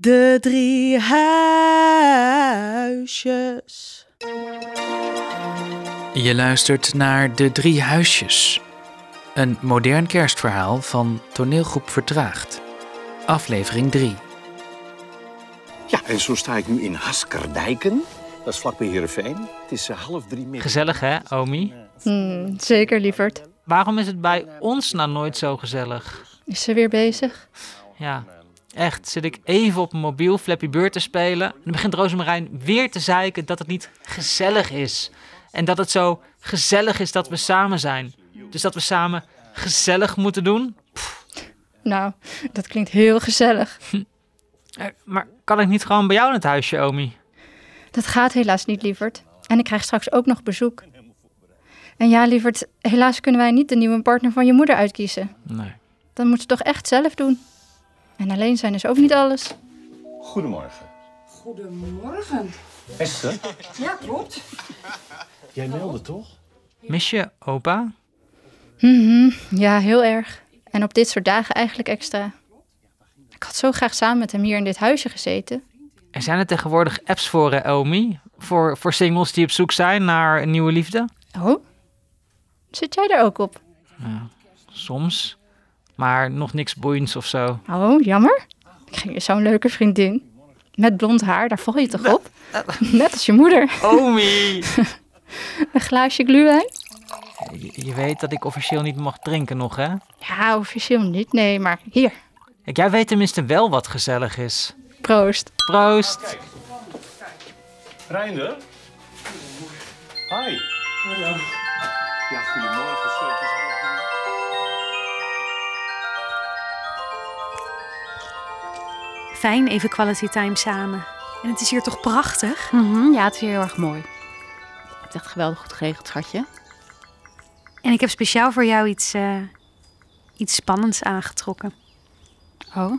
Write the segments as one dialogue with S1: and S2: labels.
S1: De drie huisjes.
S2: Je luistert naar De Drie Huisjes. Een modern kerstverhaal van toneelgroep Vertraagd. Aflevering 3.
S3: Ja, en zo sta ik nu in Haskerdijken. Dat is vlakbij Heerenveen. Het is eh, half drie middag.
S4: Gezellig hè, Omi?
S5: Hmm, zeker, lieverd.
S4: Waarom is het bij ons nou nooit zo gezellig?
S5: Is ze weer bezig?
S4: Ja, echt. Zit ik even op mijn mobiel Flappy Bird te spelen... dan begint Rozemarijn weer te zeiken dat het niet gezellig is. En dat het zo gezellig is dat we samen zijn. Dus dat we samen gezellig moeten doen?
S5: Nou, dat klinkt heel gezellig.
S4: Eh, Maar kan ik niet gewoon bij jou in het huisje, Omi?
S5: Dat gaat helaas niet, lieverd. En ik krijg straks ook nog bezoek. En ja, lieverd, helaas kunnen wij niet de nieuwe partner van je moeder uitkiezen.
S4: Nee.
S5: Dat moet ze toch echt zelf doen. En alleen zijn is ook niet alles.
S3: Goedemorgen.
S6: Goedemorgen.
S3: Esther,
S6: Ja, klopt.
S3: jij meldde toch?
S4: Mis je opa?
S5: Mhm, ja, heel erg. En op dit soort dagen eigenlijk extra. Ik had zo graag samen met hem hier in dit huisje gezeten.
S4: Er zijn er tegenwoordig apps voor, hè, Omi? Voor, voor singles die op zoek zijn naar een nieuwe liefde?
S5: Oh, zit jij daar ook op?
S4: Soms. Maar nog niks boeiends of zo.
S5: Oh, jammer. Ik ging zo'n leuke vriendin. Met blond haar, daar val je toch op? Net als je moeder.
S4: Omi!
S5: Een glaasje glühwijn?
S4: Je, je weet dat ik officieel niet mag drinken nog, hè?
S5: Ja, officieel niet, nee, maar hier.
S4: Kijk, jij weet tenminste wel wat gezellig is.
S5: Proost.
S4: Proost!
S3: Reinder? Hi. Ja, goedemorgen. Zo, het is half drie.
S7: Fijn, even quality time samen. En het is hier toch prachtig?
S8: Mhm, ja, het is hier heel erg mooi. Je hebt echt geweldig goed geregeld, schatje.
S7: En ik heb speciaal voor jou iets, eh, iets spannends aangetrokken.
S8: Oh,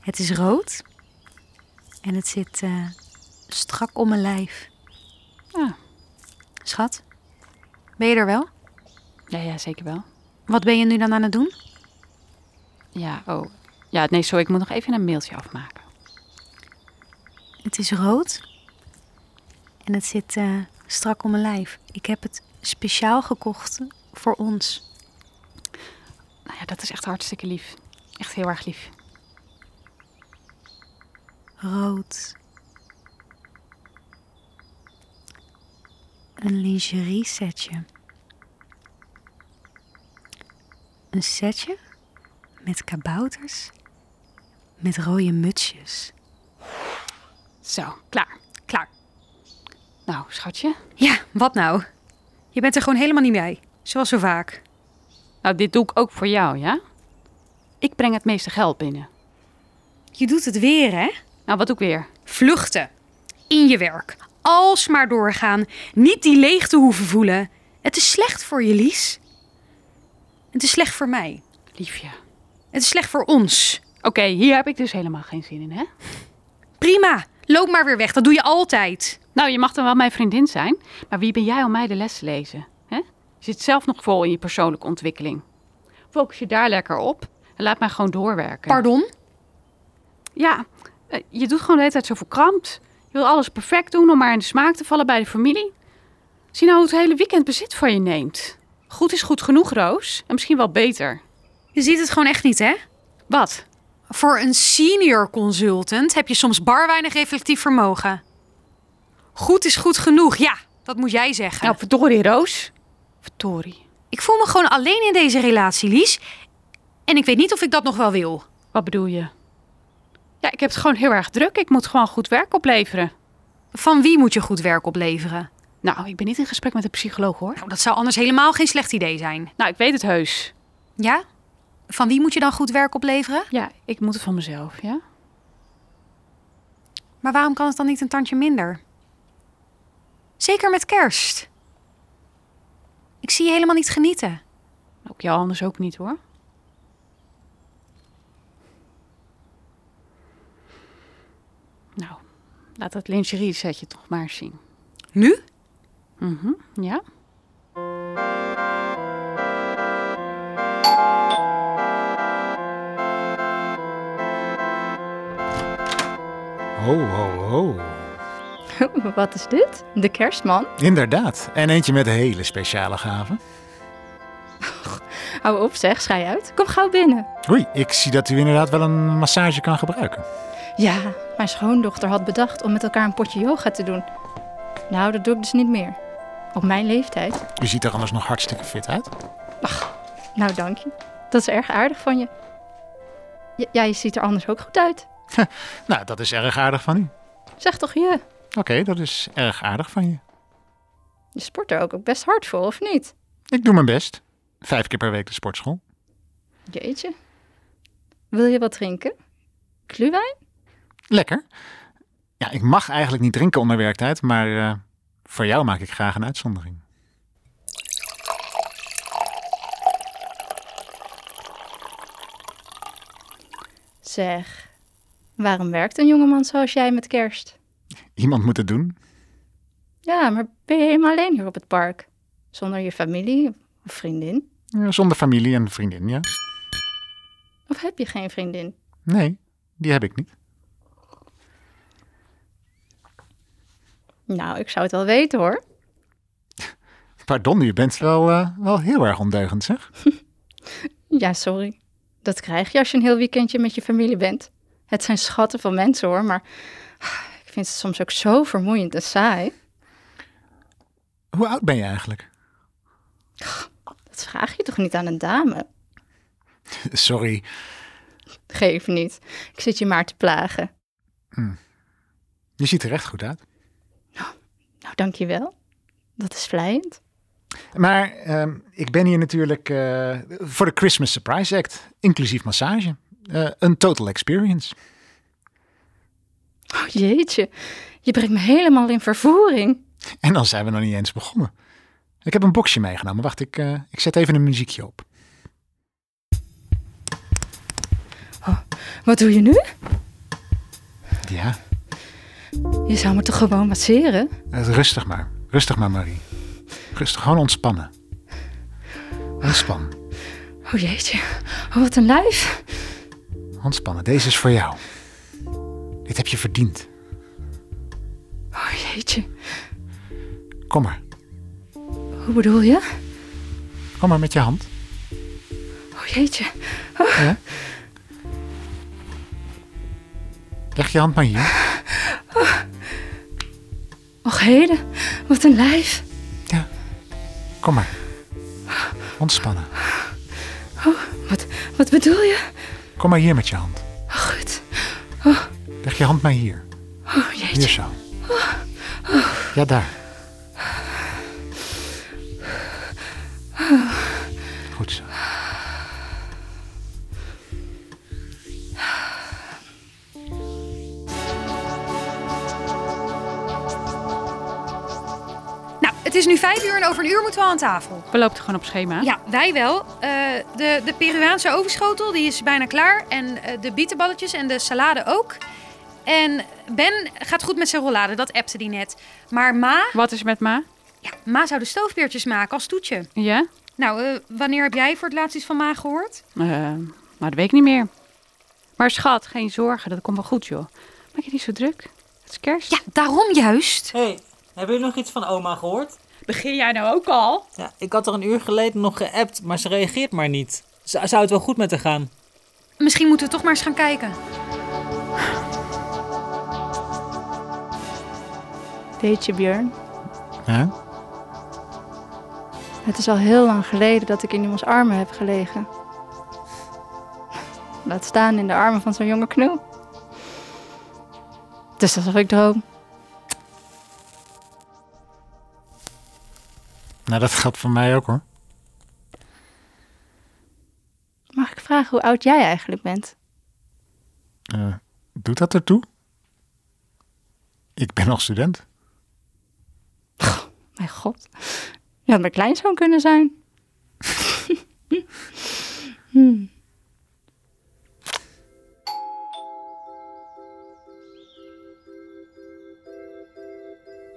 S7: Het is rood. En het zit eh, strak om mijn lijf.
S8: Ja.
S7: Schat, ben je er wel?
S8: ja, ja, zeker wel.
S7: Wat ben je nu dan aan het doen?
S8: Ja, oh. Ja, nee, sorry, ik moet nog even een mailtje afmaken.
S7: Het is rood. En het zit eh, strak om mijn lijf. Ik heb het speciaal gekocht voor ons.
S8: Nou ja, dat is echt hartstikke lief. Echt heel erg lief.
S7: Rood. Een lingerie setje. Een setje met kabouters met rode mutsjes.
S8: Zo, klaar. Klaar. Nou, schatje.
S7: Ja, wat nou? Je bent er gewoon helemaal niet bij, zoals zo vaak.
S8: Nou, dit doe ik ook voor jou, ja? Ik breng het meeste geld binnen.
S7: Je doet het weer, hè?
S8: Nou, wat ook weer.
S7: Vluchten. In je werk. Alsmaar doorgaan. Niet die leegte hoeven voelen. Het is slecht voor je, Lies. Het is slecht voor mij.
S8: Liefje.
S7: Het is slecht voor ons.
S8: Oké, hier heb ik dus helemaal geen zin in, hè?
S7: Prima. Loop maar weer weg. Dat doe je altijd.
S8: Nou, je mag dan wel mijn vriendin zijn, maar wie ben jij om mij de les te lezen? Hè? Je zit zelf nog vol in je persoonlijke ontwikkeling. Focus je daar lekker op en laat mij gewoon doorwerken.
S7: Pardon?
S8: Ja, eh, je doet gewoon de hele tijd zo verkrampt. Je wil alles perfect doen om maar in de smaak te vallen bij de familie. Zie nou hoe het hele weekend bezit van je neemt. Goed is goed genoeg, Roos. En misschien wel beter.
S7: Je ziet het gewoon echt niet, hè?
S8: Wat?
S7: Voor een senior consultant heb je soms bar weinig reflectief vermogen. Goed is goed genoeg. Ja, dat moet jij zeggen.
S8: Nou, verdorie, Roos. Verdorie.
S7: ik voel me gewoon alleen in deze relatie, Lies. En ik weet niet of ik dat nog wel wil.
S8: Wat bedoel je? Ja, ik heb het gewoon heel erg druk. Ik moet gewoon goed werk opleveren.
S7: Van wie moet je goed werk opleveren?
S8: Nou, ik ben niet in gesprek met een psycholoog, hoor.
S7: Nou, dat zou anders helemaal geen slecht idee zijn.
S8: Nou, ik weet het heus.
S7: Ja? Van wie moet je dan goed werk opleveren?
S8: Ja, ik moet het van mezelf, ja?
S7: Maar waarom kan het dan niet een tandje minder? Zeker met kerst. Ik zie je helemaal niet genieten.
S8: Ook jou anders ook niet, hoor. Nou, laat dat lingerie setje toch maar zien.
S7: Nu?
S8: Mhm, ja?
S9: Ho, ho, ho.
S5: Wat is dit? De kerstman?
S9: Inderdaad. En eentje met hele speciale gaven.
S5: Hou op zeg, schei uit. Kom gauw binnen.
S9: Oei, ik zie dat u inderdaad wel een massage kan gebruiken.
S5: Ja, mijn schoondochter had bedacht om met elkaar een potje yoga te doen. Nou, dat doe ik dus niet meer. Op mijn leeftijd.
S9: U ziet er anders nog hartstikke fit uit.
S5: Nou, dank je. Dat is erg aardig van je. J- ja, je ziet er anders ook goed uit.
S9: Nou, dat is erg aardig van u.
S5: Zeg toch je.
S9: Oké, dat is erg aardig van je.
S5: Je sport er ook best hard voor, of niet?
S9: Ik doe mijn best. Vijf keer per week de sportschool.
S5: Jeetje. Wil je wat drinken? Kluwijn?
S9: Lekker. Ja, ik mag eigenlijk niet drinken onder werktijd, maar eh, voor jou maak ik graag een uitzondering.
S5: Zeg, waarom werkt een jongeman zoals jij met kerst?
S9: Iemand moet het doen.
S5: Ja, maar ben je helemaal alleen hier op het park? Zonder je familie of vriendin?
S9: Ja, Eh, Zonder familie en vriendin, ja.
S5: Of heb je geen vriendin?
S9: Nee, die heb ik niet.
S5: Nou, ik zou het wel weten hoor.
S9: Pardon, u bent wel, eh, wel heel erg ondeugend, zeg.
S5: Ja, sorry. Dat krijg je als je een heel weekendje met je familie bent. Het zijn schatten van mensen hoor, maar ik vind het soms ook zo vermoeiend en saai.
S9: Hoe oud ben je eigenlijk?
S5: Dat vraag je toch niet aan een dame?
S9: Sorry,
S5: Geef niet. Ik zit je maar te plagen.
S9: je ziet er echt goed uit.
S5: Nou, dankjewel. Dat is vlijend.
S9: Maar ehm, ik ben hier natuurlijk eh, voor de Christmas Surprise Act, inclusief massage. Eh, een total experience.
S5: Oh jeetje, je brengt me helemaal in vervoering.
S9: En dan zijn we nog niet eens begonnen. Ik heb een boxje meegenomen. Wacht, ik, eh, ik zet even een muziekje op.
S5: Wat doe je nu?
S9: Ja,
S5: Je zou me toch gewoon masseren?
S9: eh, rustig maar. Rustig maar, Marie. Rustig, gewoon ontspannen. Ontspan,
S5: Oh jeetje, oh, wat een lijf.
S9: ontspannen. Deze is voor jou. Dit heb je verdiend.
S5: Oh jeetje,
S9: Kom maar.
S5: hoe bedoel je?
S9: Kom maar met je hand.
S5: Oh jeetje,
S9: Ja. Leg je hand maar hier.
S5: och heden, wat een lijf.
S9: Ja. Kom maar. Ontspannen.
S5: Wat, wat bedoel je?
S9: Kom maar hier met je hand. Oh.
S5: Oh, goed.
S9: Leg je hand maar hier.
S5: Oh
S9: Hier
S5: jeetje,
S9: zo. Ja, daar. Goed zo.
S7: Nou, het is nu vijf uur en over een uur moeten we aan tafel.
S8: We lopen gewoon op schema.
S7: Ah. Ja, wij wel. Eh, de, de Peruaanse overschotel die is bijna klaar. En eh, de bietenballetjes en de salade ook. En Ben gaat goed met zijn rollade, dat appte die net. Maar Ma,
S8: Wat is met ma?
S7: ja, Ma zou de stoofpeertjes maken als toetje.
S8: Ja?
S7: Nou, eh, wanneer heb jij voor het laatst iets van Ma gehoord?
S8: Eh, maar dat weet ik niet meer. Maar schat, geen zorgen. Dat komt wel goed, joh. Maak je niet zo druk. Het is kerst.
S7: daarom juist.
S10: Hé, hey, hebben jullie nog iets van oma gehoord?
S8: Begin jij nou ook al?
S10: Ja, ik had er een uur geleden nog geappt, maar ze reageert maar niet. Z- zou het wel goed met haar gaan?
S7: Misschien moeten we toch maar eens gaan kijken.
S5: weet je Björn,
S9: Ja?
S5: het is al heel lang geleden dat ik in iemands armen heb gelegen. Laat staan in de armen van zo'n jonge knul. Het is alsof ik droom.
S9: Nou, dat geldt voor mij ook hoor.
S5: Mag ik vragen hoe oud jij eigenlijk bent?
S9: Eh, doet dat ertoe? Ik ben nog student.
S5: Mijn god. Je had mijn kleinzoon kunnen zijn. Hmm.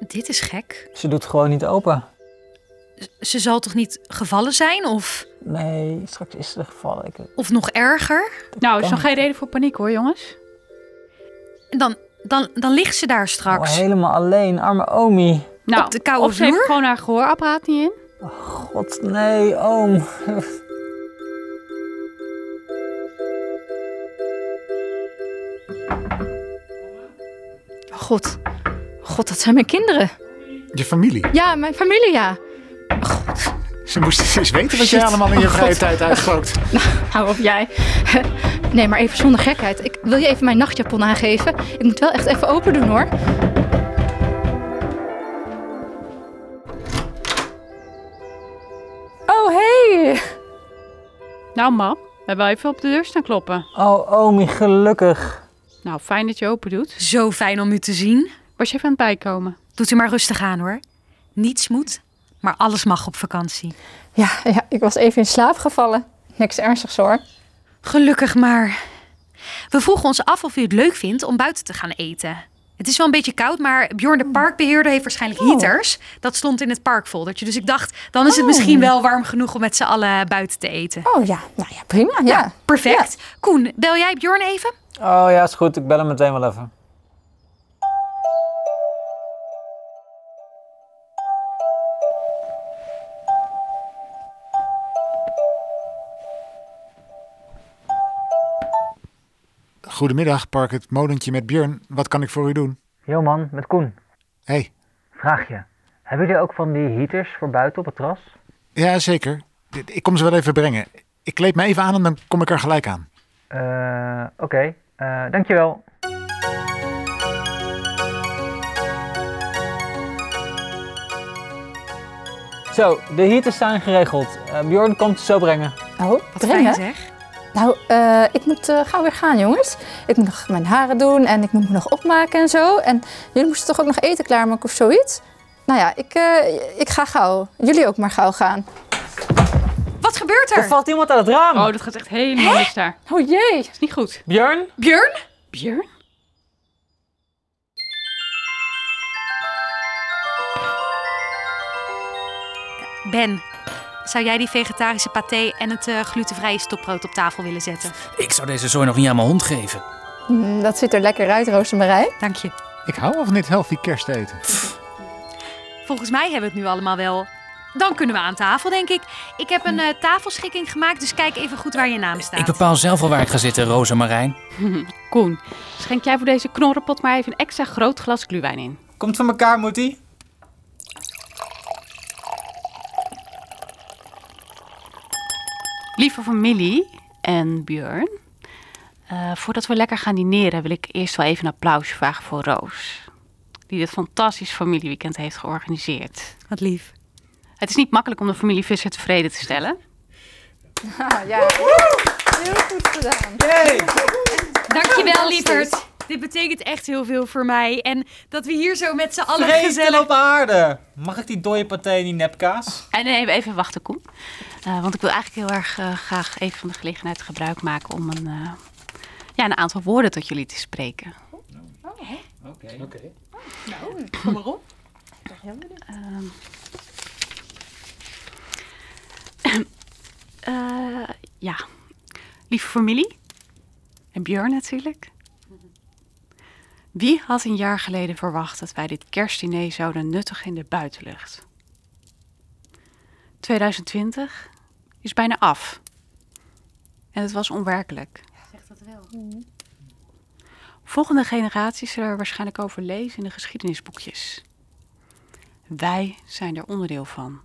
S7: Dit is gek.
S10: Ze doet gewoon niet open.
S7: Ze zal toch niet gevallen zijn? Of,
S10: Nee, straks is ze gevallen. Ik,
S7: of nog erger?
S8: Nou, is nog geen reden voor paniek, hoor, jongens.
S7: Dan Dan, dan ligt ze daar
S10: Oh,
S7: straks.
S10: helemaal alleen, arme Omi.
S7: Nou, op de koude
S8: of ze heeft
S7: vloer?
S8: gewoon haar gehoorapparaat niet in.
S10: God, nee, oom.
S5: Oh God. Oh God, dat zijn mijn kinderen.
S9: Je familie.
S5: Ja, mijn familie, ja.
S9: Ze moesten eens weten wat jij
S5: Shit.
S9: allemaal in je
S5: Oh,
S9: vrije
S5: God.
S9: tijd uitgookt.
S5: Hou op jij. Nee, maar even zonder gekheid. Ik wil je even mijn nachtjapon aangeven. Ik moet wel echt even open doen hoor.
S8: Oh, hey. Nou, mam, we hebben wel even op de deur staan kloppen.
S10: Oh, Omi, gelukkig.
S8: Nou, fijn dat je open doet.
S7: Zo fijn om u te zien.
S8: Was je even aan het bijkomen?
S7: Doet u maar rustig aan hoor. Niets moet, maar alles mag op vakantie.
S5: Ja, ja, ik was even in slaap gevallen. Niks ernstigs hoor.
S7: Gelukkig maar. We vroegen ons af of u het leuk vindt om buiten te gaan eten. Het is wel een beetje koud, maar Bjorn de parkbeheerder heeft waarschijnlijk heaters. Dat stond in het parkfoldertje. Dus ik dacht, dan is het misschien wel warm genoeg om met z'n allen buiten te eten.
S5: Oh ja, nou ja, prima. Ja.
S7: Perfect. Koen, bel jij Bjorn even?
S10: Oh ja, is goed. Ik bel hem meteen wel even.
S9: Goedemiddag, Park het molentje met Björn. Wat kan ik voor u doen?
S10: Yo man, met Koen.
S9: Hey.
S10: Vraag je. Hebben jullie ook van die heaters voor buiten op het terras?
S9: Ja, zeker. Dit- Ik kom ze wel even brengen. Ik kleed me even aan en dan kom ik er gelijk aan.
S10: Eh, oké. Eh, dankjewel. Zo, de heaters zijn geregeld. Eh, Bjorn komt ze zo brengen.
S11: Oh,
S7: Wat fijn
S11: dringen?
S7: zeg.
S11: Nou, eh, ik moet eh, gauw weer gaan, jongens. Ik moet nog mijn haren doen en ik moet me nog opmaken en zo. En jullie moesten toch ook nog eten klaarmaken of zoiets? Nou ja, ik, eh, ik ga gauw. Jullie ook maar gauw gaan.
S7: Wat gebeurt
S10: Er
S7: er?
S10: valt iemand uit het raam.
S8: Oh, dat gaat echt helemaal mis daar.
S11: Oh jee.
S8: Is niet goed.
S10: Bjorn?
S7: Bjorn?
S8: Björn?
S7: Ben, zou jij die vegetarische paté en het eh, glutenvrije stokbrood op tafel willen zetten?
S2: Ik zou deze zooi nog niet aan mijn hond geven.
S11: Mm, dat ziet er lekker uit, Rosemarij.
S7: Dank je.
S9: Ik hou al van dit healthy kersteten.
S7: Volgens mij hebben we het nu allemaal wel. Dan kunnen we aan tafel, denk ik. Ik heb een eh, tafelschikking gemaakt, dus kijk even goed waar je naam
S2: Ik
S7: staat.
S2: bepaal zelf al waar ik ga zitten, Rosa Marijn.
S8: Koen, schenk jij voor deze knorrenpot maar even een extra groot glas gluwijn in.
S10: Komt van elkaar, moet hij?
S8: Lieve familie en Björn, eh, voordat we lekker gaan dineren wil ik eerst wel even een applausje vragen voor Roos. Die dit fantastisch familieweekend heeft georganiseerd.
S7: Wat lief.
S8: Het is niet makkelijk om de familie Visser tevreden te stellen.
S11: Ah, ja. Heel goed gedaan.
S7: Dankjewel, lieverd. Dit betekent echt heel veel voor mij. En dat we hier zo met z'n allen
S10: Vreten
S7: gezellig...
S10: op aarde. Mag ik die dode paté en die nepkaas?
S8: En nee, even wachten, Koen. Eh, want ik wil eigenlijk heel erg eh, graag even van de gelegenheid gebruik maken om een, eh, ja, een aantal woorden tot jullie te spreken.
S10: Oké.
S8: Ehm, Eh, ja, lieve familie. En Björn natuurlijk. Wie had een jaar geleden verwacht dat wij dit kerstdiner zouden nuttigen in de buitenlucht? 2020 is bijna af. En het was onwerkelijk. Zeg dat wel. Volgende generaties zullen er waarschijnlijk over lezen in de geschiedenisboekjes. Wij zijn er onderdeel van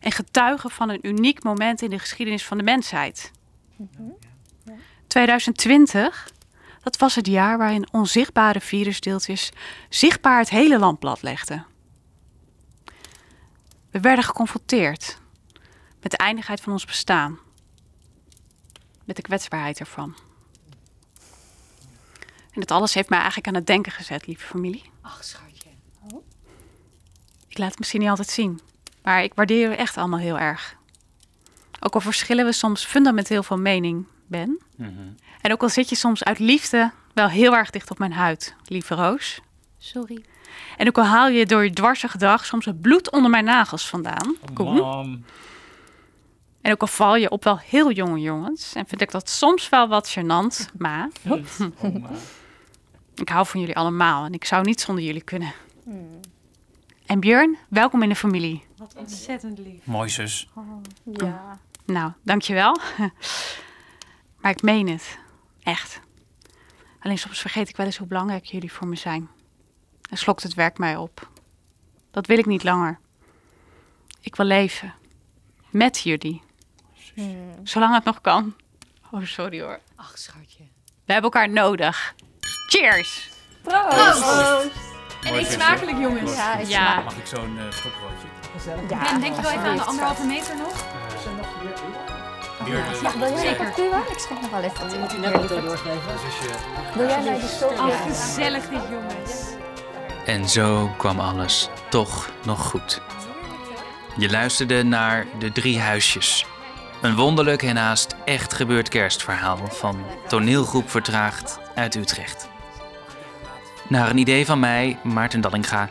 S8: en getuigen van een uniek moment in de geschiedenis van de mensheid. Mm-hmm. 2020, dat was het jaar waarin onzichtbare virusdeeltjes zichtbaar het hele land platlegden. We werden geconfronteerd met de eindigheid van ons bestaan, met de kwetsbaarheid ervan. En dat alles heeft mij eigenlijk aan het denken gezet, lieve familie. Oh.
S7: Ach, schatje.
S8: Ik laat het misschien niet altijd zien, maar ik waardeer jullie echt allemaal heel erg. Ook al verschillen we soms fundamenteel van mening, Ben. En ook al zit je soms uit liefde wel heel erg dicht op mijn huid, lieve Roos.
S7: Sorry.
S8: En ook al haal je door je dwarsige dag soms het bloed onder mijn nagels vandaan, Koen.
S10: Mam.
S8: En ook al val je op wel heel jonge jongens, en vind ik dat soms wel wat gênant, ma.
S10: Jeet, oma.
S8: Ik hou van jullie allemaal en ik zou niet zonder jullie kunnen. En Björn, welkom in de familie.
S12: Wat ontzettend lief.
S2: Mooi zus.
S12: Ja.
S8: Nou, dankjewel. Maar ik meen het. Echt. Alleen soms vergeet ik wel eens hoe belangrijk jullie voor me zijn. En slokt het werk mij op. Dat wil ik niet langer. Ik wil leven. Met jullie. Zolang het nog kan. Oh, sorry hoor.
S12: Ach, schatje.
S8: We hebben elkaar nodig. Cheers!
S12: Proost!
S8: Proost.
S7: En eet smakelijk, jongens.
S8: Ja, eet
S7: Ja.
S8: smakelijk.
S2: Mag ik zo'n eh, stokbroodje?
S7: Ja, en denk je wel even aan de anderhalve meter nog?
S12: Eh,
S2: Duurder.
S11: Ja, wil jij
S7: Zeker.
S11: nog duwen? Ik schenk nog wel even. in.
S12: Moet je net meteen doorgeven?
S11: Wil jij mij die stoel?
S12: Oh,
S7: gezellig dit, jongens.
S2: En zo kwam alles toch nog goed. Je luisterde naar De Drie Huisjes. Een wonderlijk en haast echt gebeurd kerstverhaal van toneelgroep Vertraagd uit Utrecht. Naar een idee van mij, Maarten Dallinga,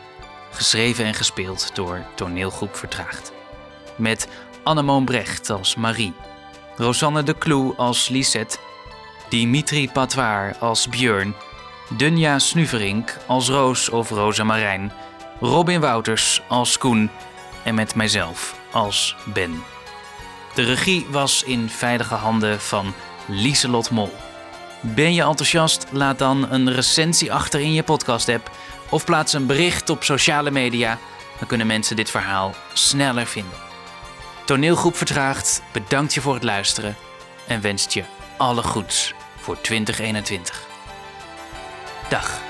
S2: geschreven en gespeeld door toneelgroep Vertraagd. Met Annemoon Brecht als Marie, Rosanne de Kloe als Lisette, Dimitri Patoir als Björn, Dunja Snuverink als Roos of Rosa Marijn, Robin Wouters als Koen en met mijzelf als Ben. De regie was in veilige handen van Lieselot Mol. Ben je enthousiast? Laat dan een recensie achter in je podcast-app of plaats een bericht op sociale media. Dan kunnen mensen dit verhaal sneller vinden. Toneelgroep Vertraagd bedankt je voor het luisteren en wenst je alle goeds voor 2021. Dag.